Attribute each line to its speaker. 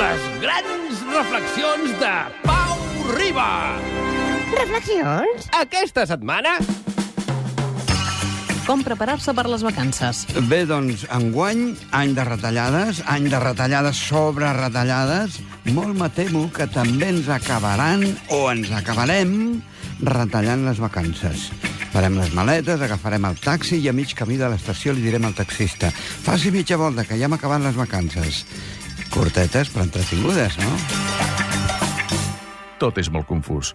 Speaker 1: Les grans reflexions de Pau Riba.
Speaker 2: Reflexions?
Speaker 1: Aquesta setmana...
Speaker 3: Com preparar-se per les vacances.
Speaker 4: Bé, doncs, enguany, any de retallades, any de retallades sobre retallades. Molt me temo que també ens acabaran, o ens acabarem, retallant les vacances. Farem les maletes, agafarem el taxi i a mig camí de l'estació li direm al taxista faci mitja volta, que ja hem acabat les vacances. Cortetes, però entretingudes, no?
Speaker 5: Tot és molt confús.